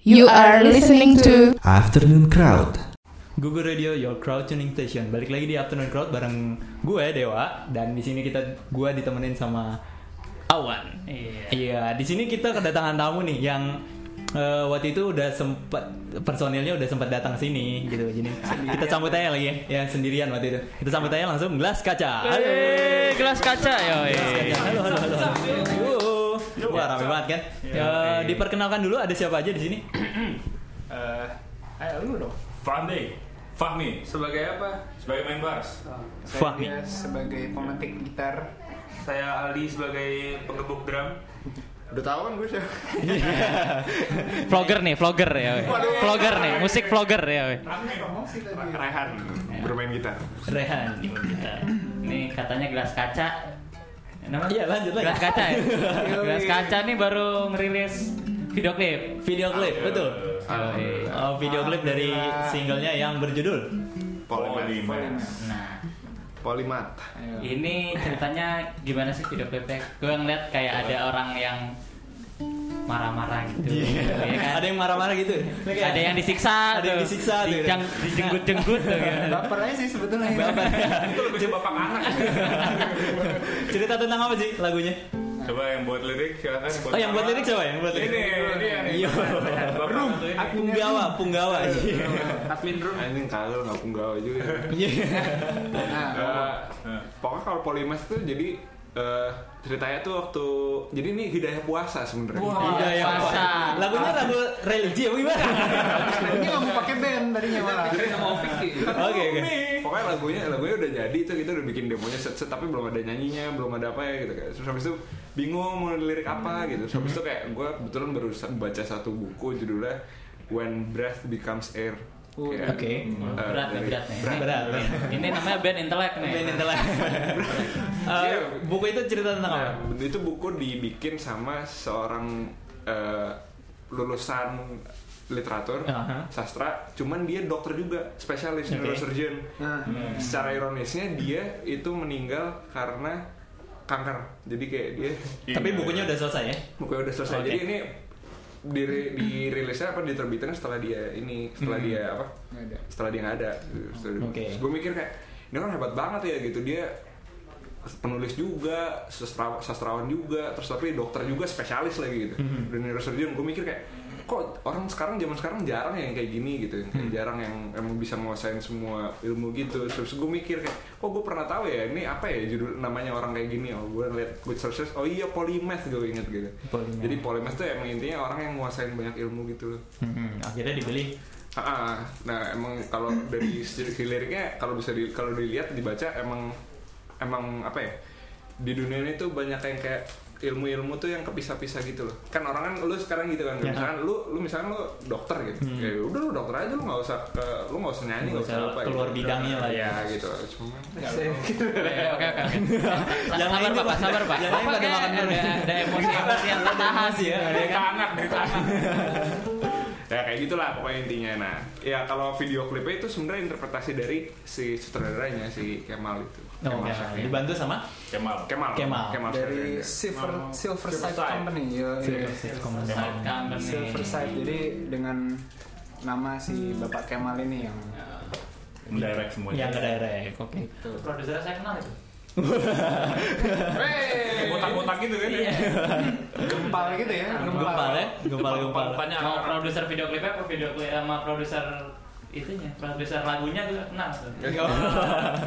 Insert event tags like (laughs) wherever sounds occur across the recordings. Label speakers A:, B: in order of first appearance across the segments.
A: You are listening to
B: Afternoon Crowd.
C: Google Radio Your Crowd Tuning Station. Balik lagi di Afternoon Crowd bareng gue Dewa dan di sini kita gue ditemenin sama Awan. Iya. di sini kita kedatangan tamu nih yang eh, waktu itu udah sempat personilnya udah sempat datang sini gitu. Jadi kita sambut aja lagi ya, yang sendirian waktu itu. Kita sambut aja langsung gelas kaca.
D: Yeay, gelas kaca yo.
C: Halo halo halo. halo. Yo. Wah, rame banget kan? Eh, diperkenalkan dulu ada siapa aja di sini?
E: Eh, ayo lu dong. Fahmi. Fahmi
F: Sebagai apa?
E: sebagai main bars.
F: Saya
C: Fahmi.
F: Dias sebagai pemetik gitar. Saya Ali sebagai pengebuk drum. Udah tahu kan gue siapa?
D: Vlogger nih, vlogger ya. weh. Vlogger nih, musik vlogger ya. weh.
F: Rehan bermain gitar.
C: Rehan.
D: Nih katanya gelas kaca. Namanya
C: Iya, lanjut, lanjut.
D: Gelas kaca ya. gelas kaca nih baru ngerilis video klip.
C: Video klip, betul.
D: Yoi.
C: Oh, video klip dari singlenya yang berjudul
E: Polimer.
D: Nah,
F: Polimat.
D: ini ceritanya gimana sih video klipnya? Gue ngeliat kayak ada orang yang marah-marah gitu. ya kan?
C: Ada yang marah-marah gitu.
D: Ada yang
C: Iya.
D: disiksa,
C: Ada yang
D: tuh.
C: disiksa tuh.
D: Dijeng- dijenggut-jenggut tuh. kan.
F: Baper aja sih sebetulnya.
E: Itu lebih ke bapak anak.
C: Cerita tentang apa sih lagunya?
E: Coba yang buat lirik silakan.
C: Oh, yang buat
E: nama.
C: lirik siapa yang buat
E: Ini,
C: lirik?
E: ini yang
C: Iya.
E: Bapak satu ini.
C: Punggawa, Punggawa. Iya.
F: Admin room.
G: Anjing kagak nggak punggawa juga.
F: Nah,
G: Eh,
E: Eh,
G: pokoknya kalau polimas tuh jadi eh, ceritanya tuh waktu jadi ini hidayah puasa sebenarnya.
C: Iya, yang
D: Puasa.
C: Lagunya lagu religi apa gimana?
F: ini nggak mau pakai band tadinya malah.
C: Oke, oke.
G: Pokoknya lagunya lagunya udah jadi tuh kita udah bikin demonya set set tapi belum ada nyanyinya belum ada apa ya gitu kan. Terus habis itu bingung mau lirik apa gitu. Terus habis itu kayak gue kebetulan baru sa- baca satu buku judulnya When Breath Becomes Air. Kayak,
C: Oke.
G: eh,
D: berat nih
G: dari-
D: berat nih
C: Berat, berat.
D: ini namanya band intelek nih
C: Ben Intelek. Eh, buku itu cerita tentang apa?
G: itu buku dibikin sama seorang eh, lulusan literatur
C: Aha.
G: sastra cuman dia dokter juga spesialis
C: Oke.
G: neurosurgeon
F: Nah,
G: secara ironisnya dia itu meninggal karena kanker jadi kayak dia
C: Tapi bukunya udah selesai ya.
G: bukunya udah selesai
C: Oke.
G: jadi ini diri dirilisnya apa diterbitinnya setelah dia ini setelah dia apa
F: nggak ada.
G: setelah dia nggak ada
C: Hmm. Oke.
G: gue mikir kayak ini orang hebat banget ya gitu dia penulis juga sastra- sastrawan juga terus tapi dokter juga spesialis lagi gitu dan neurosurgeon gue mikir kayak kok orang sekarang zaman sekarang jarang yang kayak gini gitu yang kayak jarang yang emang bisa nguasain semua ilmu gitu terus gue mikir kayak kok gue pernah tahu ya ini apa ya judul namanya orang kayak gini oh gue ngeliat good sources oh iya polymath gue inget gitu
C: Polymath.
G: jadi polymath tuh emang intinya orang yang nguasain banyak ilmu gitu loh
C: Akhirnya dibeli.
G: Ah, ah. nah emang kalau dari segi liriknya kalau bisa di, kalau dilihat dibaca emang emang apa ya di dunia ini tuh banyak yang kayak ilmu-ilmu tuh yang kepisah-pisah gitu loh kan orang kan lu sekarang gitu kan
C: Ya. Hmm.
G: misalkan lu lu misalkan lu dokter gitu ya udah lu dokter aja lu nggak usah ke, lu nggak usah nyanyi nggak usah
C: Nggak usah
G: apa
C: keluar
G: gitu.
C: bidangnya lah ya.
G: ya gitu cuma
D: oke oke oke
C: Yang
D: sabar
C: lain
D: bapak
C: juga-
D: sabar pak
C: yang lain
D: bapak
C: pada
D: kayak
C: makan dulu.
D: ada ada emosi emosi yang tak tahan
C: Masih ya. ada
E: Berita
C: kan?
E: anak, berita anak.
G: ya kayak gitulah pokoknya intinya nah ya kalau video klipnya itu sebenarnya interpretasi dari si sutradaranya si Kemal itu
C: Oke, ya.
G: Syafri.
C: Dibantu sama Iya,
E: Kemal.
G: Kemal
C: Kemal.
G: Syafri.
F: Dari Silver Silver Side
E: Silverside.
F: Company. yo, iya.
D: Side company.
F: Silver Side. Jadi dengan nama si Bapak Kemal ini yang
E: Mendirect semuanya.
C: yang ke direct. ya. Oke.
D: produser saya kenal itu
E: Kayak Botak-botak gitu kan? ya?
F: gempal gitu ya.
C: Gempal ya, gempal gempal.
E: Bukannya
D: mau
E: anak-anak.
D: produser video klipnya apa video klip eh, sama produser itunya produser lagunya gue kenal tuh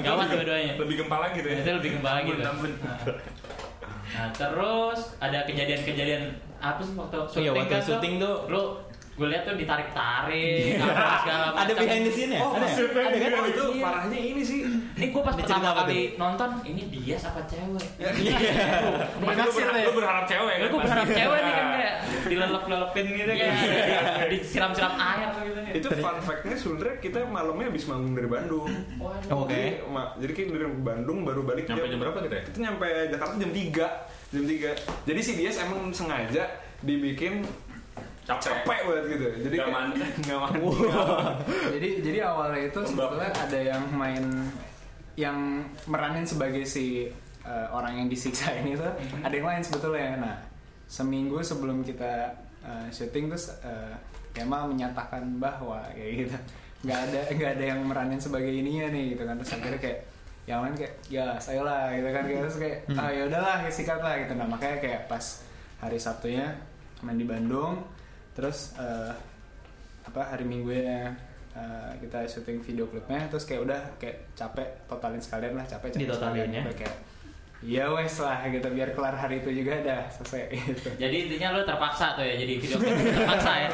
D: gawat dua-duanya
E: Lebih gempal lagi tuh ya.
D: itu lebih gembala gitu
E: Ampun, ampun.
D: Nah. nah terus ada kejadian-kejadian apa sih waktu syuting
C: Iya, waktu
D: kan tuh?
C: syuting tuh. Iya.
D: lu gue lihat tuh ditarik-tarik apa segala macam
C: Ada behind the scene ya? Ada.
G: ada kan itu
D: Iya.
G: parahnya ini
C: (laughs)
G: sih
D: Ini gue pas
C: Ini cerita
D: pertama
C: apa Iya.
D: kali nonton, ini dia apa cewek? Iya.
E: Lu berharap-
F: Naksir deh.
E: Lu berharap cewek
D: Gue
E: kan?
D: berharap
E: pasti.
D: cewek nih kan kayak dilelep-lelepin gitu kan, di- disiram-siram air gitu.
G: itu fun fact-nya sebenarnya kita malamnya habis manggung dari Bandung
D: Waduh.
C: Oke.
G: jadi, ma- jadi kita dari Bandung baru balik
E: Nyampe jam berapa kita ya?
G: kita nyampe Jakarta jam 3 jam 3 jadi si Dias emang sengaja dibikin
E: Capek.
G: capek banget gitu jadi
E: Nggak
G: kayak-
E: mandi.
G: (laughs) nggak mampu
F: jadi jadi awalnya itu
E: Lembab.
F: sebetulnya ada yang main yang meranin sebagai si eh, orang yang disiksa ini tuh ada yang lain sebetulnya nah seminggu sebelum kita eh, syuting terus eh, Kema menyatakan bahwa kayak gitu nggak ada nggak ada yang meranin sebagai ininya nih gitu kan terus akhirnya kayak yang lain kayak ya saya lah gitu kan Kayak terus kayak ah ya udahlah sikat lah gitu nah makanya kayak pas hari Sabtunya main di Bandung terus eh, apa hari Minggunya eh, kita syuting video klipnya terus kayak udah kayak capek totalin sekalian lah capek capek
C: Ditotalin ya?
F: sekalian Sampai kayak ya wes lah gitu biar kelar hari itu juga dah selesai (laughs) gitu
D: Jadi intinya lo terpaksa tuh ya jadi video (laughs) klip terpaksa ya.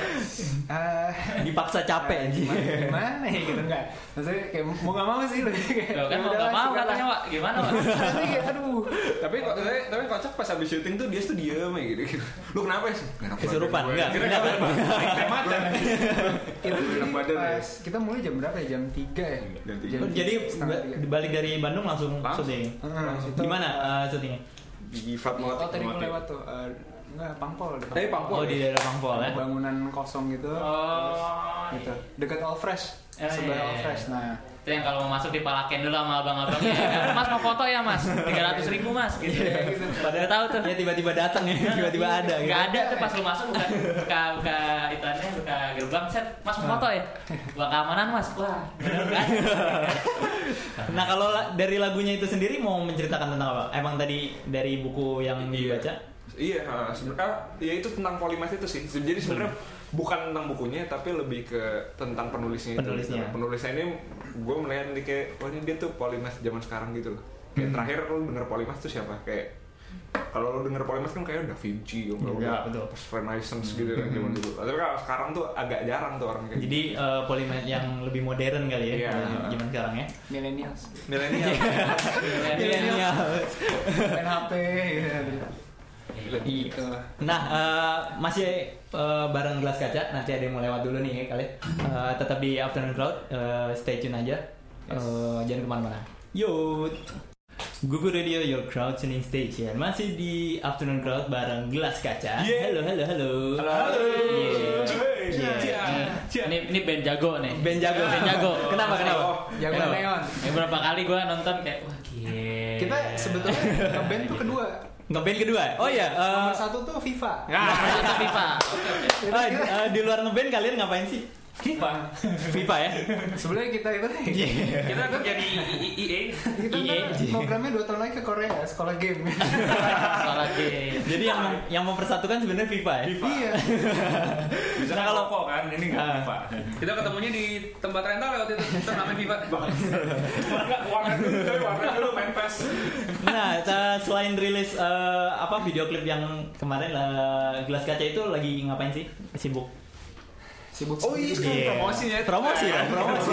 F: Ah,
C: Dipaksa capek
F: ah,
C: anjing.
F: gimana, gimana ya gitu enggak maksudnya kayak mau gak mau sih lebih kayak
D: Lo kan
F: ya
D: mau
F: udahlah,
D: nggak mau
F: sikat lah.
D: katanya Wak, gimana Wak?
F: tapi kayak aduh
G: tapi kok tapi, tapi kocak pas habis syuting tuh dia tuh diem ya gitu, gitu. lu kenapa ya Nggak enak
C: (laughs) Kesurupan
G: badan gue.
C: enggak?
G: Kira-
C: Enggak kan?
F: kita
G: Enak
F: jadi
G: badan ya.
F: pas kita mulai jam berapa ya jam 3 ya
G: Jam tiga.
F: Jam
C: Jadi
F: setengah
C: ba-
F: tiga.
C: balik dari Bandung langsung
G: Langsung.
C: syuting.
F: Heeh, itu-
C: Gimana eh, syutingnya?
G: di gifat banget
F: oh tadi
G: mati.
F: gue lewat tuh eh, enggak pangpol deh
G: Tapi Pangpol.
C: Oh di daerah Pangpol ya.
F: bangunan kosong gitu
D: Oh,
F: gitu dekat all fresh
D: Eh,
F: sebelah
D: iya,
F: all
D: iya.
F: fresh nah
D: Itu yang kalau mau masuk dipalakin dulu sama abang-abangnya. ya kan? Mas mau foto ya mas, 300 ribu mas gitu. Padahal tahu tuh. Iya.
C: Ya tiba-tiba datang ya, tiba-tiba ada gitu.
D: Gak ada tuh pas lu masuk buka buka buka itu aneh buka gerbang set mas mau foto ya. Buat keamanan mas wah. bener kan? nggak ada.
C: Nah kalau la- dari lagunya itu sendiri mau menceritakan tentang apa? Emang tadi dari buku yang
G: Iya.
C: dibaca?
G: Iya, ah, sebenarnya ah, ya itu tentang polimath itu sih. Jadi sebenarnya
C: Hmm.
G: bukan tentang bukunya tapi lebih ke tentang penulisnya,
C: Penulisnya.
G: itu. Nah, Penulisnya ini gue melihat nih kayak wah ini dia tuh polimath zaman sekarang gitu loh. Kayak
C: Hmm.
G: terakhir lu denger polimath tuh siapa? Kayak kalau lu denger polimath kan kayak Da Vinci, ya,
C: Iya, betul. Hmm.
G: pas Renaissance gitu
C: (laughs)
G: kan zaman dulu. Tapi kalau sekarang tuh agak jarang tuh orang kayak. gitu. (laughs)
C: Jadi eh, polimath yang lebih modern kali ya,
G: Iya.
C: eh, zaman sekarang ya.
F: millennials
G: milenial.
D: Iya,
C: Milenial.
F: main HP gitu. gitu
C: Nah, eh, masih eh, bareng gelas kaca. Nanti ada yang mau lewat dulu nih ya kalian. Eh, tetap di Afternoon Cloud. eh, stay tune aja. Eh, jangan kemana-mana. Yo. Google Radio Your Crowd Tuning Station masih di Afternoon Crowd bareng gelas kaca. Halo, halo, halo.
G: Halo.
C: Yeah. Yeah.
D: Ini ini band jago nih.
C: Ben jago,
D: Band jago.
C: Kenapa, kenapa?
F: yang
D: Kenapa?
F: neon
D: Ya, berapa kali gue nonton kayak wah gila.
F: kita sebetulnya ngeband tuh kedua
C: Ngeband kedua. Oh iya, eh,
F: nomor satu tuh FIFA
D: Nah, FIFA.
C: eh, eh, di luar ngeband kalian ngapain sih?
D: FIFA.
C: FIFA ya.
F: sebenarnya kita itu
E: Kita akan jadi EA.
F: kita
D: iya,
F: ntar programnya dua tahun lagi ke Korea sekolah game
D: Salah game.
C: Jadi yang yang mempersatukan sebenarnya FIFA ya.
F: iya
E: Bisa
C: Nah,
E: kan
C: kalau-
E: rokok kan, ini nggak
C: Ah.
E: FIFA. Kita ketemunya di tempat rental lewat itu turnamen (laughs) FIFA. Enggak, warnet dulu, coy, warnet dulu main PES.
C: Nah, ta- selain rilis eh, apa video klip yang kemarin eh, gelas kaca itu lagi ngapain sih? Sibuk.
F: sibuk
G: Oh iya,
F: sendiri.
C: Iya.
G: promosinya.
C: Promosi ya, promosi.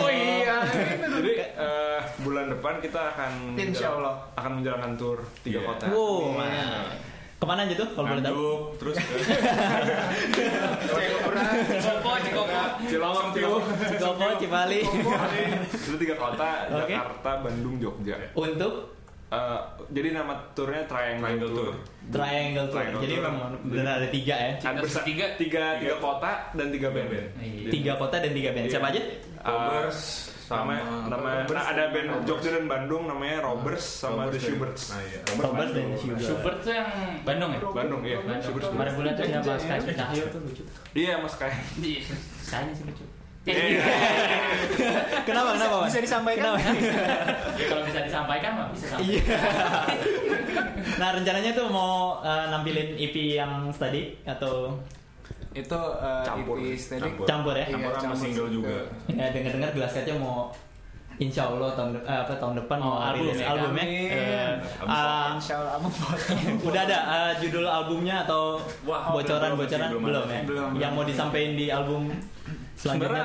G: Oh iya. Jadi eh, bulan depan kita akan
F: Insya
G: menjalan-
F: Allah.
G: akan menjalankan tur tiga
E: Iya.
G: kota.
C: Wow, mana? Kemana aja tuh kalau boleh tahu?
E: Nganjuk, terus ke
D: Cikopo, Cikopo.
G: Cilongok tuh.
C: (laughs) Cikopo, Cipali.
G: Itu tiga kota,
C: Oke.
G: Jakarta, Bandung, Jogja.
C: Untuk
G: Eh, jadi nama turnya Triangle,
E: Triangle
G: Tour.
E: Tour.
C: Triangle Tour.
G: Triangle
C: Jadi
G: Tour.
C: memang benar ada tiga ya.
G: Ada Kan bersa-
E: Tiga.
G: tiga, tiga kota dan tiga band.
E: band.
D: Iya.
C: Tiga kota dan tiga band. Siapa aja?
G: Eh,
E: Robbers
G: sama Nah, nama
E: Robbers.
G: nah, ada band Jogja dan Bandung namanya Robbers
E: Robbers
G: sama The
E: dan-
G: Schuberts.
E: Nah, iya.
C: Robert dan Sugar.
D: Schubert tuh yang Bandung ya?
G: Bandung ya,
D: Bandung.
G: Schuberts.
D: Kemarin bulan tuh
F: Jogja, ya.
D: siapa? Sky Cahyo tuh lucu.
G: Iya, Mas Kai.
D: Iya. Sky sih lucu. Ya, iya.
C: Eh, Kenapa kenapa? Mas?
F: bisa disampaikan?
C: Kenapa?
D: Ya, kalau bisa disampaikan mah bisa sampai.
C: Iya. (laughs) Nah, rencananya tuh mau eh, nampilin EP yang tadi atau
F: itu uh,
G: Campur.
F: IP steady
E: Campur.
C: campur ya?
E: Campur
F: Iya,
E: Eh, sama
F: campur
E: single juga.
C: Ya dengar-dengar gelas kaca mau Insya Allah tahun de- eh, apa tahun depan
D: Oh,
C: mau
D: album
C: rilis
D: ya?
C: albumnya.
F: Amin.
C: Eh, ah,
F: Insya Allah kamu
C: (laughs) udah ada eh, judul albumnya atau
E: Wah,
C: bocoran-bocoran
E: belum,
C: belum,
E: belum,
C: ya?
F: belum,
C: Yang mau disampaikan di album selanjutnya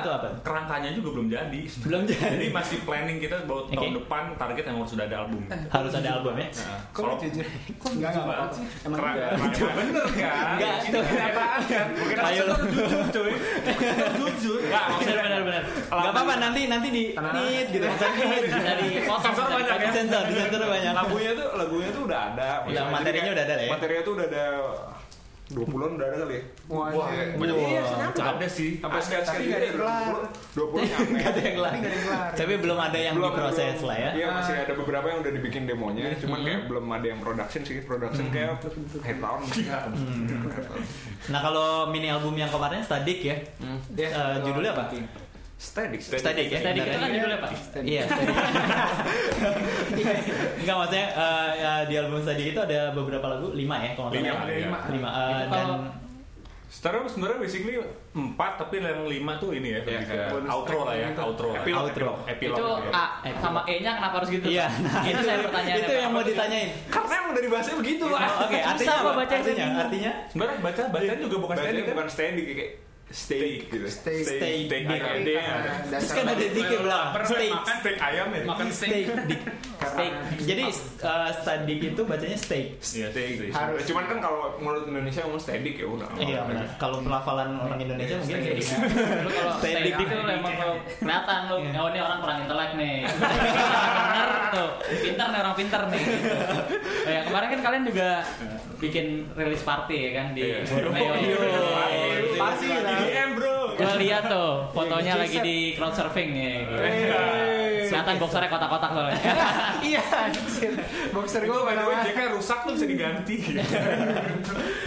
E: Sebenarnya
C: itu apa?
E: kerangkanya juga belum jadi.
C: Belum jadi.
E: Jadi masih planning kita buat
C: Oke.
E: tahun depan target yang sudah ada album.
C: Harus ada album ya?
E: Nah,
F: Kok
E: kalau
F: jujur? Kok enggak enggak apa-apa sih? Emang
E: Kerang-
F: enggak.
E: kerangka- bener kan?
C: Enggak,
E: Ini
C: tuh.
E: kenyataan kan? Mungkin
C: Ayo
E: harus
C: lo.
E: jujur, cuy. Harus jujur. Enggak, maksudnya
D: Benar-benar.
C: Gak apa-apa nanti nanti di nit gitu maksudnya nit.
D: Bisa dipotong.
E: Sensor banyak
C: Di
E: ya?
C: sensor, di sensor banyak.
G: lagunya tuh lagunya tuh udah ada
C: Ya, materinya udah ada lah ya.
G: materinya tuh udah ada 20-an udah ada kali ya?
F: Wah, iya.
G: banyak
F: Iya,
G: banget.
F: nyampe.
E: Ada sih.
G: Sampai gitu ya?
F: Ada,
G: sketch
F: tapi nggak ada yang kelar.
G: 20
C: Nggak ada yang
F: Tapi
G: nyampe.
F: nggak ada yang kelar.
C: kelar. Tapi belum ada yang
G: Belum,
C: diproses
G: belum.
C: lah ya. Hmm.
G: Iya, masih ada beberapa yang udah dibikin demonya, cuman kayak belum ada yang production sih. Production kayak akhir tahun.
C: Nah kalau mini album yang kemarin Stadik ya,
F: Ya,
C: Eh, judulnya apa?
G: Steady,
C: Stadik ya.
D: Tadi kita
C: benar
D: kan
C: ya?
D: judulnya apa?
C: Iya. Stadik. Enggak maksudnya eh, eh, di album Stadik itu ada beberapa lagu, lima ya kalau nggak
E: Lima,
C: salah.
E: ada lima.
C: Lima, eh,
D: Itu
C: dan
D: kalau-
E: Sekarang sebenarnya basically 4 tapi yang 5 tuh ini ya,
G: Iya,
E: lebih ke
G: kayak bonus
E: outro lah ya, outro. lah.
G: Epilog,
C: Outro.
G: epilog.
E: Epilog.
D: Itu ah,
E: gitu ya.
D: A sama E-nya kenapa harus gitu?
C: Iya, nah,
D: itu
C: itu
D: saya pertanyaan.
C: itu yang mau ditanyain.
G: Karena emang dari bahasanya begitu lah.
C: Oh, Oke,
D: Susah
C: artinya
D: kok
C: apa?
D: bacanya,
C: Artinya,
D: bingung.
C: artinya
E: Sebenarnya baca bacaan juga bukan
G: Bahasanya
E: standing kan?
G: bukan steady kayak steak gitu.
F: Stay,
C: stay
E: Steak
C: big.
E: ayam.
F: Tapi
E: Iya.
F: karena
C: Terus
F: dasar
C: kan ada dikit bilang
E: Pernah
C: steak.
E: makan steak ayam ya?
D: Makan
C: Steak. Dik.
F: Steak.
C: Jadi eh, Stadik itu bacanya steak.
E: Iya, steak.
F: Harus.
G: Cuman kan kalau menurut Indonesia emang steady ya udah.
C: Iya
E: Nah,
C: benar. Kalau pelafalan orang Indonesia mungkin kayak gitu.
D: Lu kalau
C: (laughs) Standing
D: standing itu
C: dikit.
D: emang kalau kelihatan lu,
C: Iya.
D: oh ini orang kurang intelek
C: (laughs)
D: nih. Bener tuh, pintar nih orang pintar nih. Oh ya, kemarin kan kalian juga bikin rilis party ya kan di
G: Iya.
C: Oh,
D: Borneo.
C: iya.
F: Pasti lah.
E: IDM bro.
D: Gue lihat tuh fotonya lagi di crowd surfing ya.
C: Iya.
D: Kelihatan boxernya kotak-kotak
C: (laughs)
D: soalnya.
F: Iya, anjir. Boxer
E: Itu
F: gue
E: by the way,
F: mana?
E: JK rusak tuh bisa diganti.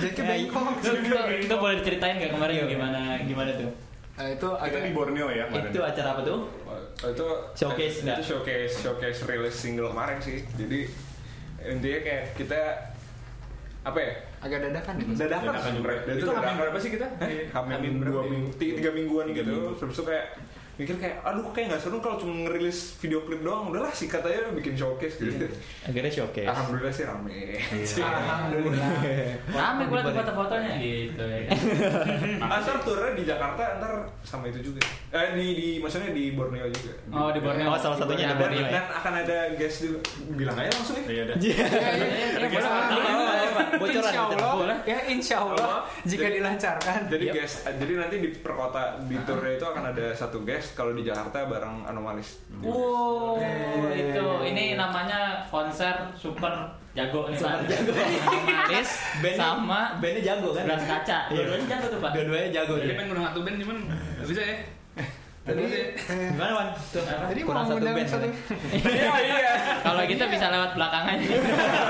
F: Jadi
C: Ya,
F: bengkok.
D: Itu- itu, itu boleh diceritain gak kemarin gimana gimana?
C: Gimana tuh?
F: Eh, Itu
E: Kita
F: agak
E: di Borneo ya kemarin.
C: Itu acara apa tuh?
G: Oh, itu
C: Showcase,
G: itu
C: nggak?
G: showcase showcase rilis single kemarin sih jadi intinya kayak kita apa ya
F: agak dadakan ya. Mas?
G: dadakan
E: Dadakan juga.
G: sebenarnya. Dan
E: Itu
G: dadakan.
E: ngamen berapa sih kita?
G: Hah?
E: Ngamen
G: Hamin dua
E: berapa?
G: minggu tiga, tiga mingguan
E: Tiga
G: gitu
E: minggu.
G: terus tuh kayak mikir kayak aduh kayak nggak seru kalau cuma ngerilis video klip doang udahlah sikat aja bikin showcase gitu
E: Iya.
C: Akhirnya showcase.
G: alhamdulillah sih rame
F: Alhamdulillah.
D: Rame gue liat foto-fotonya
C: Iya.
D: gitu ya kan.
G: Hmm, asal turnya di Jakarta ntar sama itu juga eh di, di maksudnya di Borneo juga
D: Oh di Borneo.
C: Oh, salah satunya di
G: dan,
C: Borneo ya?
G: dan akan ada guest juga bilang aja langsung ya
E: Iya, dah.
D: Iya, iya, iya,
F: Insya
D: boleh,
F: Allah.
D: boleh, boleh, boleh, boleh.
C: Bocoran,
F: Insya
C: bocoran.
F: Allah. Ya insya Allah jika
G: Jadi-
F: dilancarkan.
G: Jadi guest, jadi nanti di perkota di tournya itu akan ada satu guest kalau di Jakarta bareng Anomalis.
D: Wow,
F: Eh.
D: itu ini namanya konser super jago nih Pak. Manis
C: Band
D: sama
C: bandnya jago kan?
D: belas kaca.
C: Iya.
D: Dua-duanya jago tuh Pak. Iya.
C: Dua-duanya jago
E: Jadi
C: tuh.
E: pengen ngundang satu band cuman nggak bisa ya.
F: Jadi eh,
C: Gimana Wan? Tuh,
F: jadi
C: kurang
F: mau ngundang satu.
E: Iya, iya.
D: Kalau kita bisa lewat belakangan.
C: (laughs)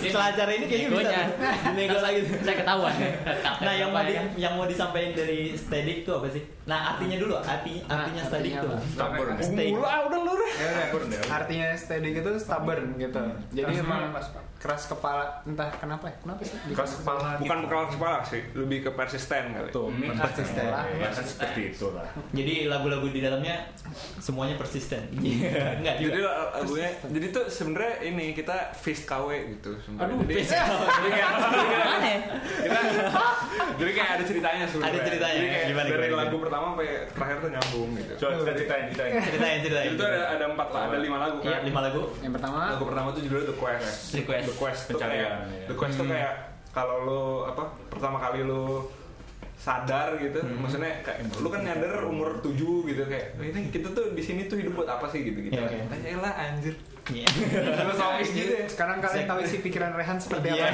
C: Setelah acara ini kayaknya bisa.
D: Negonya.
C: tuh. Nego lagi. tuh.
D: Saya ketahuan. Tetap,
C: Nah, yang mau
D: apa
C: di,
D: ya?
C: yang mau disampaikan dari Stadik tuh apa sih? Nah, artinya dulu, arti, artinya Stadik
F: artinya
C: tuh.
F: apa?
E: Tambor.
C: Stay.
G: Mulu ah udah lu. Re.
F: Ya udah. Artinya steady gitu stubborn gitu. Jadi
E: Keras
F: emang
E: kepala, Pak.
F: keras kepala entah kenapa ya. Kenapa sih?
E: Keras kepala.
G: Bukan bekal kepala sih, lebih ke persisten kali.
E: Tuh,
F: persisten.
H: Iya.
E: Ya kan seperti itu lah.
C: Jadi lagu-lagu di dalamnya semuanya persisten. Enggak juga.
G: Ya, Jadi lah, lagunya, jadi tuh sebenarnya ini kita fist KW gitu. sebenarnya.
D: Aduh,
G: jadi,
C: (laughs)
D: fist
G: jadi kayak, jadi kayak-
D: Gimana ya?
G: kita, jadi kayak ada ceritanya sebenarnya.
C: Ada ceritanya,
G: Jadi kayak
C: gimana,
G: dari
C: gimana,
G: lagu pertama sampai terakhir tuh nyambung gitu.
E: Coba kita ceritain, ceritain.
C: Ceritain, ceritain.
G: Jadi tuh ada ada empat lah, ada lima lagu
C: Iya,
G: kan.
C: lima lagu.
F: Yang pertama
G: Lagu pertama tuh judulnya The Quest.
D: The Quest.
G: The Quest tuh
E: Pencarian,
G: kayak
E: iya.
G: The Quest tuh kayak kalau lu apa pertama kali lu sadar gitu, maksudnya kayak lu kan nyadar umur 7 gitu kayak "Oh, ini kita tuh di sini tuh hidup buat apa sih gitu gitu.
C: Iya, iya.
G: Yeah, lah anjir.
C: Iya.
G: Filosofis gitu ya.
F: sekarang kalian tahu isi pikiran Rehan
C: Iya.
F: seperti
C: (laughs)
F: apa?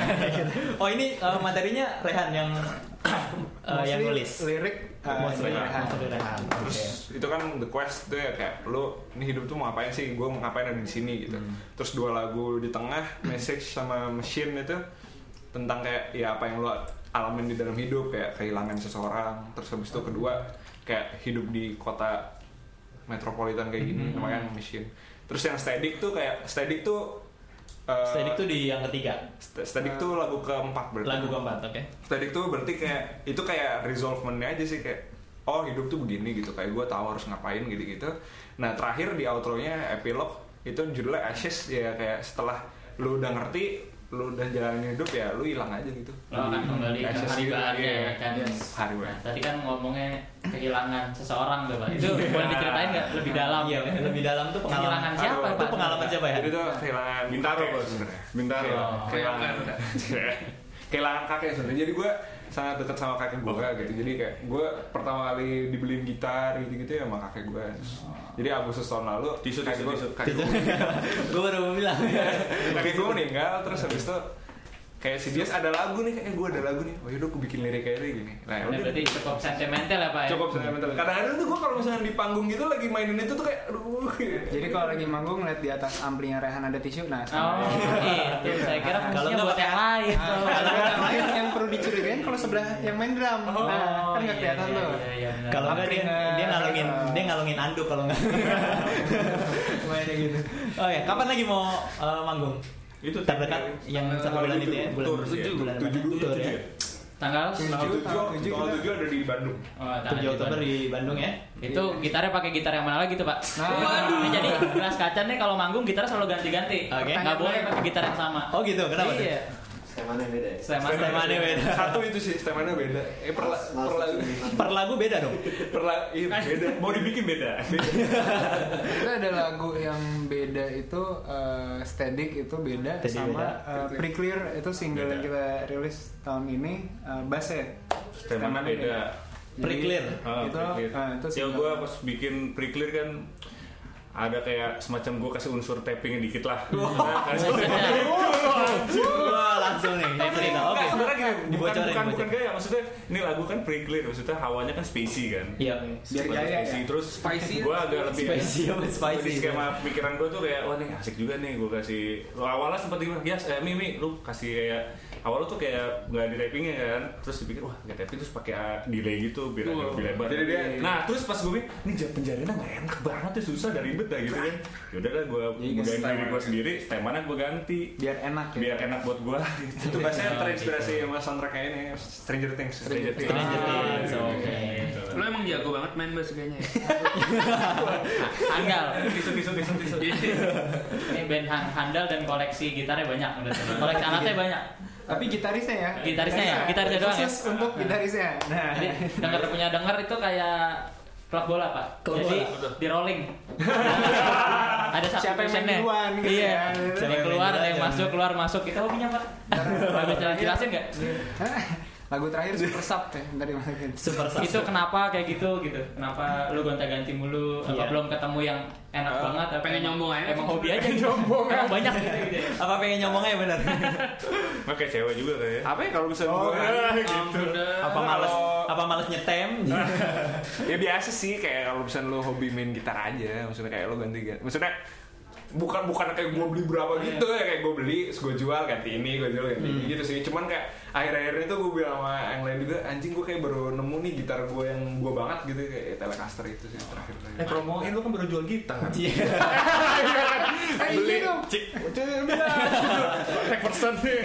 C: Oh, ini eh, materinya Rehan yang eh, yang
F: Mostly
C: nulis.
F: lirik eh,
C: Mostly
F: dari
C: Rehan.
F: Rehan.
C: Mostly Rehan.
G: Terus itu kan The Quest tuh ya kayak lu ini hidup tuh mau ngapain sih? Gue mau ngapain ada di sini gitu.
C: Hmm.
G: Terus dua lagu di tengah Message sama Machine itu tentang kayak ya apa yang lu alamin di dalam hidup kayak kehilangan seseorang. Terus habis itu kedua kayak hidup di kota metropolitan kayak gini
C: Hmm.
G: namanya Machine. Terus yang Static tuh kayak Static tuh eh,
C: Stadik tuh di yang ketiga.
G: St- Static tuh lagu keempat berarti.
C: Lagu keempat, oke.
G: Static tuh berarti kayak itu kayak resolvementnya aja sih kayak oh hidup tuh begini gitu kayak gue tahu harus ngapain gitu gitu. Nah terakhir di outro-nya epilog itu judulnya ashes ya kayak setelah lu udah ngerti lu udah jalanin hidup ya lu hilang aja gitu.
D: Lo akan Oh, kan kembali ke
G: Ashes
D: hari
G: gitu,
D: bahagia
G: iya.
D: ya kan.
G: Yes. Hari
D: Nah,
G: bahagia.
D: tadi kan ngomongnya kehilangan seseorang tuh Pak. Itu boleh diceritain nggak lebih dalam?
C: Iya, lebih dalam tuh
D: Kehilangan
C: pengalaman.
D: siapa
G: Aduh,
C: Itu
D: Pak?
C: pengalaman siapa ya?
G: Jadi tuh kehilangan
E: Bintaro,
G: kakek
E: Bos.
G: sebenarnya.
E: Bintaro.
G: Kehilangan-
D: Oh.
G: Kehilangan (laughs) kehilangan kakek sebenarnya. Jadi gue sangat dekat sama kakek gue gitu. Jadi kayak gue pertama kali dibeliin gitar gitu-gitu ya sama kakek gue. Jadi Agustus tahun lalu
E: Tisu,
G: kakek
E: tisu,
G: gue
E: tisu.
G: (laughs) kakek gue Iya,
C: Gue baru mau bilang.
G: kakek gue meninggal terus habis itu kayak si Dias ada lagu nih kayak gue ada lagu nih oh yaudah gue bikin lirik kayak gini nah
D: Nah,
G: udah
D: berarti cukup sentimental ya Pak ya?
G: cukup sentimental kadang-kadang tuh gue kalau misalnya di panggung gitu lagi mainin itu tuh kayak aduh
F: Jadi kalau lagi manggung ngeliat di atas amplinya Rehan ada tisu, nah
D: Oh,
F: sama.
D: gitu. Saya kira
F: Kalau
D: fungsinya
C: nggak Ah,
D: buat yang lain.
F: Nah, kalau yang lain yang perlu dicurigain kalau sebelah yang main drum. Nah, kan nggak kelihatan
D: Oh, iya,
F: tuh.
D: iya, iya, benar.
C: Kalau enggak dia
F: Angkringan.
C: dia ngalungin
D: eh.
C: dia ngalungin anduk kalau
D: (laughs)
C: enggak.
F: Mainnya gitu.
C: Oh ya, kapan lagi mau eh, manggung?
G: itu
C: Terdekat yang satu bulan itu ya, bulan
G: bulan tujuh
C: bulan
G: tujuh
C: apa?
G: tujuh
C: Tur ya.
G: ya
D: tanggal
F: Tujuh.
G: tujuh
F: tanggal tujuh
G: tanggal
F: kita-
G: tujuh ada di Bandung
D: Oh, tanggal
C: 7 Oktober
D: di Bandung.
C: di Bandung ya.
D: itu gitarnya pakai gitar yang mana lagi tuh pak?
F: Nah.
D: Waduh. Nah, jadi gelas kaca nih kalau manggung gitar selalu ganti-ganti.
C: Oke.
D: Nggak boleh pakai gitar yang sama.
C: Oh gitu, kenapa tuh?
D: Iya.
B: Skemanya beda ya?
D: Sleman.
C: Stemannya beda.
G: satu itu sih stemanya beda eh per la- per
B: Langsung
G: la-
B: sendiri.
C: (laughs) Per lagu beda dong.
G: per la- iya beda mau dibikin beda
F: Itu ada lagu yang beda itu eh, Static itu beda
C: Static
F: sama
C: beda.
F: eh, Pre Clear itu single yang kita rilis tahun ini eh, bass ya.
H: Stemanya beda.
C: ya.
F: Jadi,
C: Pre Clear.
H: Ah,
F: Itu
H: pre-clear.
F: eh, itu
H: Ya gue pas bikin pre-clear kan ada kayak semacam gue kasih unsur tappingnya dikit lah. Nah,
D: Iya,
H: kasih-
F: Oh.
C: Wah, langsung nih. Ya, cerita.
H: Enggak,
C: Oke.
H: sebenarnya gini, bukan
C: Dibocorin,
H: bukan bukan
C: dibocorin.
H: gaya maksudnya ini lagu kan pre-clear maksudnya hawanya kan spacey kan.
C: Iya.
F: biar
H: Semacam
F: gaya
H: spacey
F: ya.
H: terus
E: Spicy.
H: gue agak lebih
C: Spicy apa
H: Jadi
C: spicy?
H: skema pikiran gue tuh kayak wah nih asik juga nih gue kasih Lu awalnya sempat bilang ya eh, Mimi lu kasih kayak awalnya tuh kayak nggak di tappingnya kan terus dipikir wah nggak tapping terus pakai ah, delay gitu biar agak lebih lebar
G: Jadi dia-
H: nah terus pas gue mikir ini jam penjariannya nggak enak banget tuh susah dan ribet dah gitu kan yaudah lah gue
F: Jadi
H: mudahin
F: nge-style
H: diri gue sendiri stemanya gue ganti
F: Biar enak ya.
H: biar enak buat gue gitu.
G: itu bahasanya terinspirasi sama soundtrack kayak ini Stranger Things
H: Stranger Things.
C: Stranger
D: Iya,
C: Things,
H: Ah,
C: oke.
H: gitu.
E: Lo emang jago banget main bass kayaknya ya.
D: Handal.
H: tisu tisu tisu tisu
D: Ini band han- handal dan koleksi gitarnya banyak. bener. Koleksi alatnya banyak.
F: Tapi gitarisnya ya.
D: Gitarisnya ya, gitarisnya doang ya?
F: Khusus untuk gitarisnya. Nah,
D: Jadi denger punya denger itu kayak klub bola pak.
C: Klub
D: Jadi
H: bola.
D: di rolling. ada satu
F: Siapa yang main
D: positionnya.
F: duluan gitu
D: Iya.
F: ya.
D: Siapa yang keluar, ada yang masuk, keluar masuk. Kita hobinya pak.
F: Nah.
D: Habis jelasin nggak?
F: lagu terakhir Super Sub ya, ntar dimasukin.
C: Super sub.
D: itu kenapa kayak gitu gitu kenapa lu gonta-ganti mulu apa
C: Iya.
D: belum ketemu yang enak
E: Eh,
D: banget apa
E: pengen
D: emang-
E: nyombong aja.
D: emang hobi aja nyombong emang banyak gitu, gitu.
C: Apa pengen nyomongnya
D: (laughs)
C: benar?
H: Oke cewek juga kayak
G: apa ya kalau misalnya
H: Oh,
G: gue
H: gitu.
C: Apa males apa males nyetem?
G: ya biasa sih kayak kalau misalnya lo hobi main gitar aja maksudnya kayak lo ganti ganti maksudnya bukan bukan kayak gue beli berapa
H: Iya.
G: gitu ya kayak gue beli terus gue jual ganti ini gue jual ganti ini
H: Hmm.
G: gitu sih cuman kayak akhir-akhir itu gue bilang sama yang lain juga anjing gue kayak baru nemu nih gitar gue yang gue banget gitu kayak Telecaster itu sih terakhir Iya.
H: Eh promoin lu kan baru jual
G: (laughs)
H: gitar. kan?
F: Eh, iya dong.
G: (laughs)
H: Tek persen nih.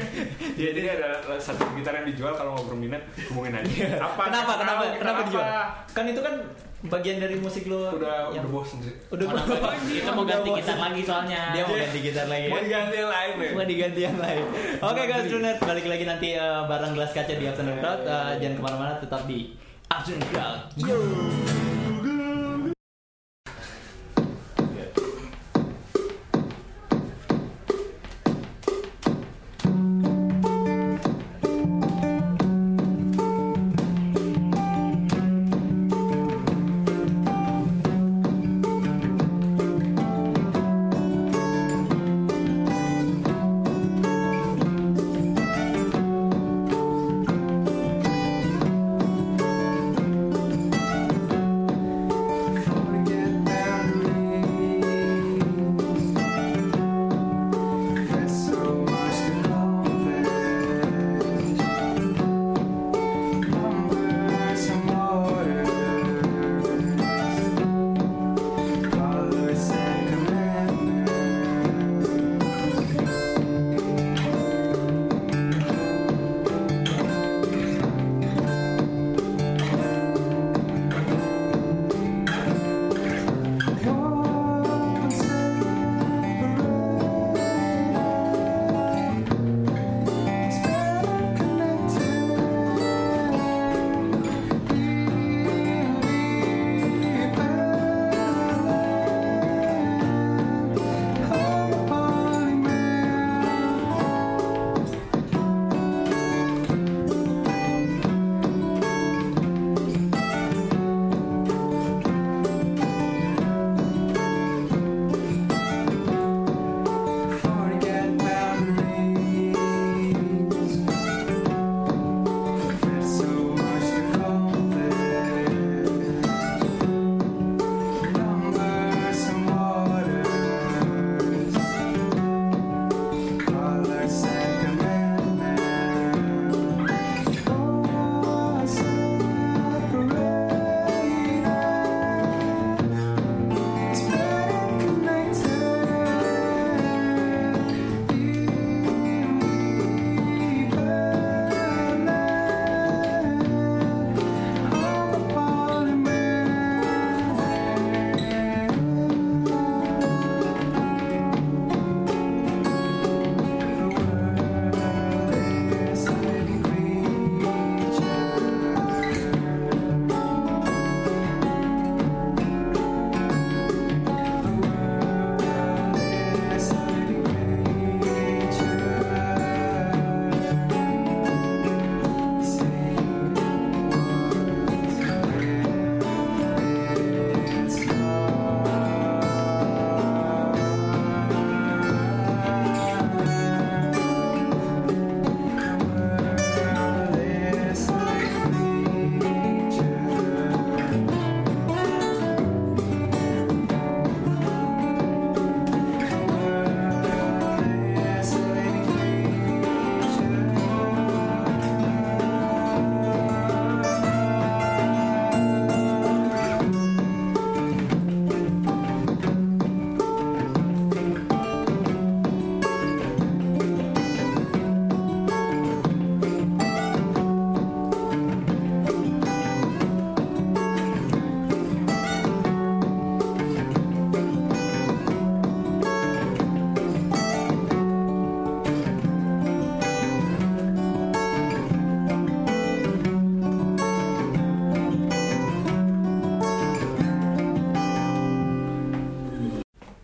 G: Iya, jadi ada satu gitar yang dijual kalau mau berminat hubungin
H: Iya.
G: aja apa
C: Kenapa?
G: Tahu
C: Kenapa?
G: gitar
C: Kenapa
G: apa?
C: dijual? Kan itu kan bagian dari musik lo
G: udah
C: yang
G: udah bosen sih
C: udah
D: Orang
C: bosen.
D: banyak. kita mau
C: Udah
D: ganti
C: bosen.
D: gitar lagi soalnya
C: Dia mau ganti gitar lagi.
G: mau
C: ya?
G: diganti yang lain ya
C: Mau diganti yang lain. Oke guys, Luners balik lagi nanti eh, bareng gelas kaca di Afternoon Crowd. Eh, jangan kemana-mana, tetap di Afternoon Crowd. Yo.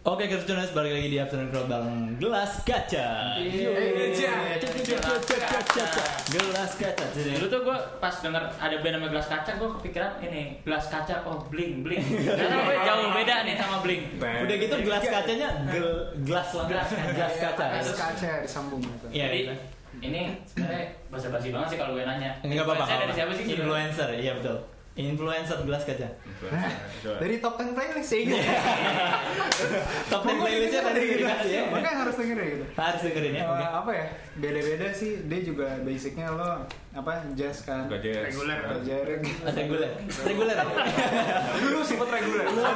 C: Oke, Kertunas balik lagi di Afternoon Crowd bareng Gelas Kaca.
F: Iya,
C: Gelas Kaca.
D: Dulu tuh gue pas denger ada band nama gelas kaca, gue kepikiran ini gelas kaca, oh bling bling. Karena gue jauh beda nih sama bling.
C: Udah
G: Ya,
C: gitu gelas kacanya gel, gelas lah.
D: Gelas kaca.
C: Gelas kaca.
F: Terus kaca disambung gitu.
C: Iya.
D: Jadi ini sebenarnya basa-basi banget sih kalau gue nanya.
C: Enggak apa-apa.
D: Influencer dari siapa sih? sebenarnya?
C: Influencer, iya betul. Influencer gelas kaca.
F: Nah, dari top 10 playlist sih. gitu.
C: Top 10 playlistnya tadi udah dikasih ya.
F: Makanya harus dengerin gitu.
C: Harus dengerin ya.
F: Eh, apa ya beda-beda sih dia juga basicnya lo apa jazz kan
H: Gak jazz.
E: Reguler.
G: (laughs)
F: pelajaran
C: Reguler. Reguler.
G: Dulu sempet reguler.
H: Nah,